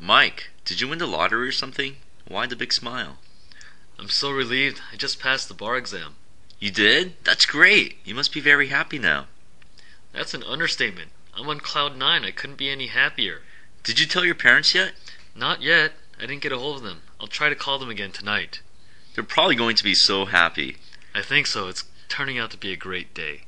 Mike, did you win the lottery or something? Why the big smile? I'm so relieved. I just passed the bar exam. You did? That's great. You must be very happy now. That's an understatement. I'm on cloud nine. I couldn't be any happier. Did you tell your parents yet? Not yet. I didn't get a hold of them. I'll try to call them again tonight. They're probably going to be so happy. I think so. It's turning out to be a great day.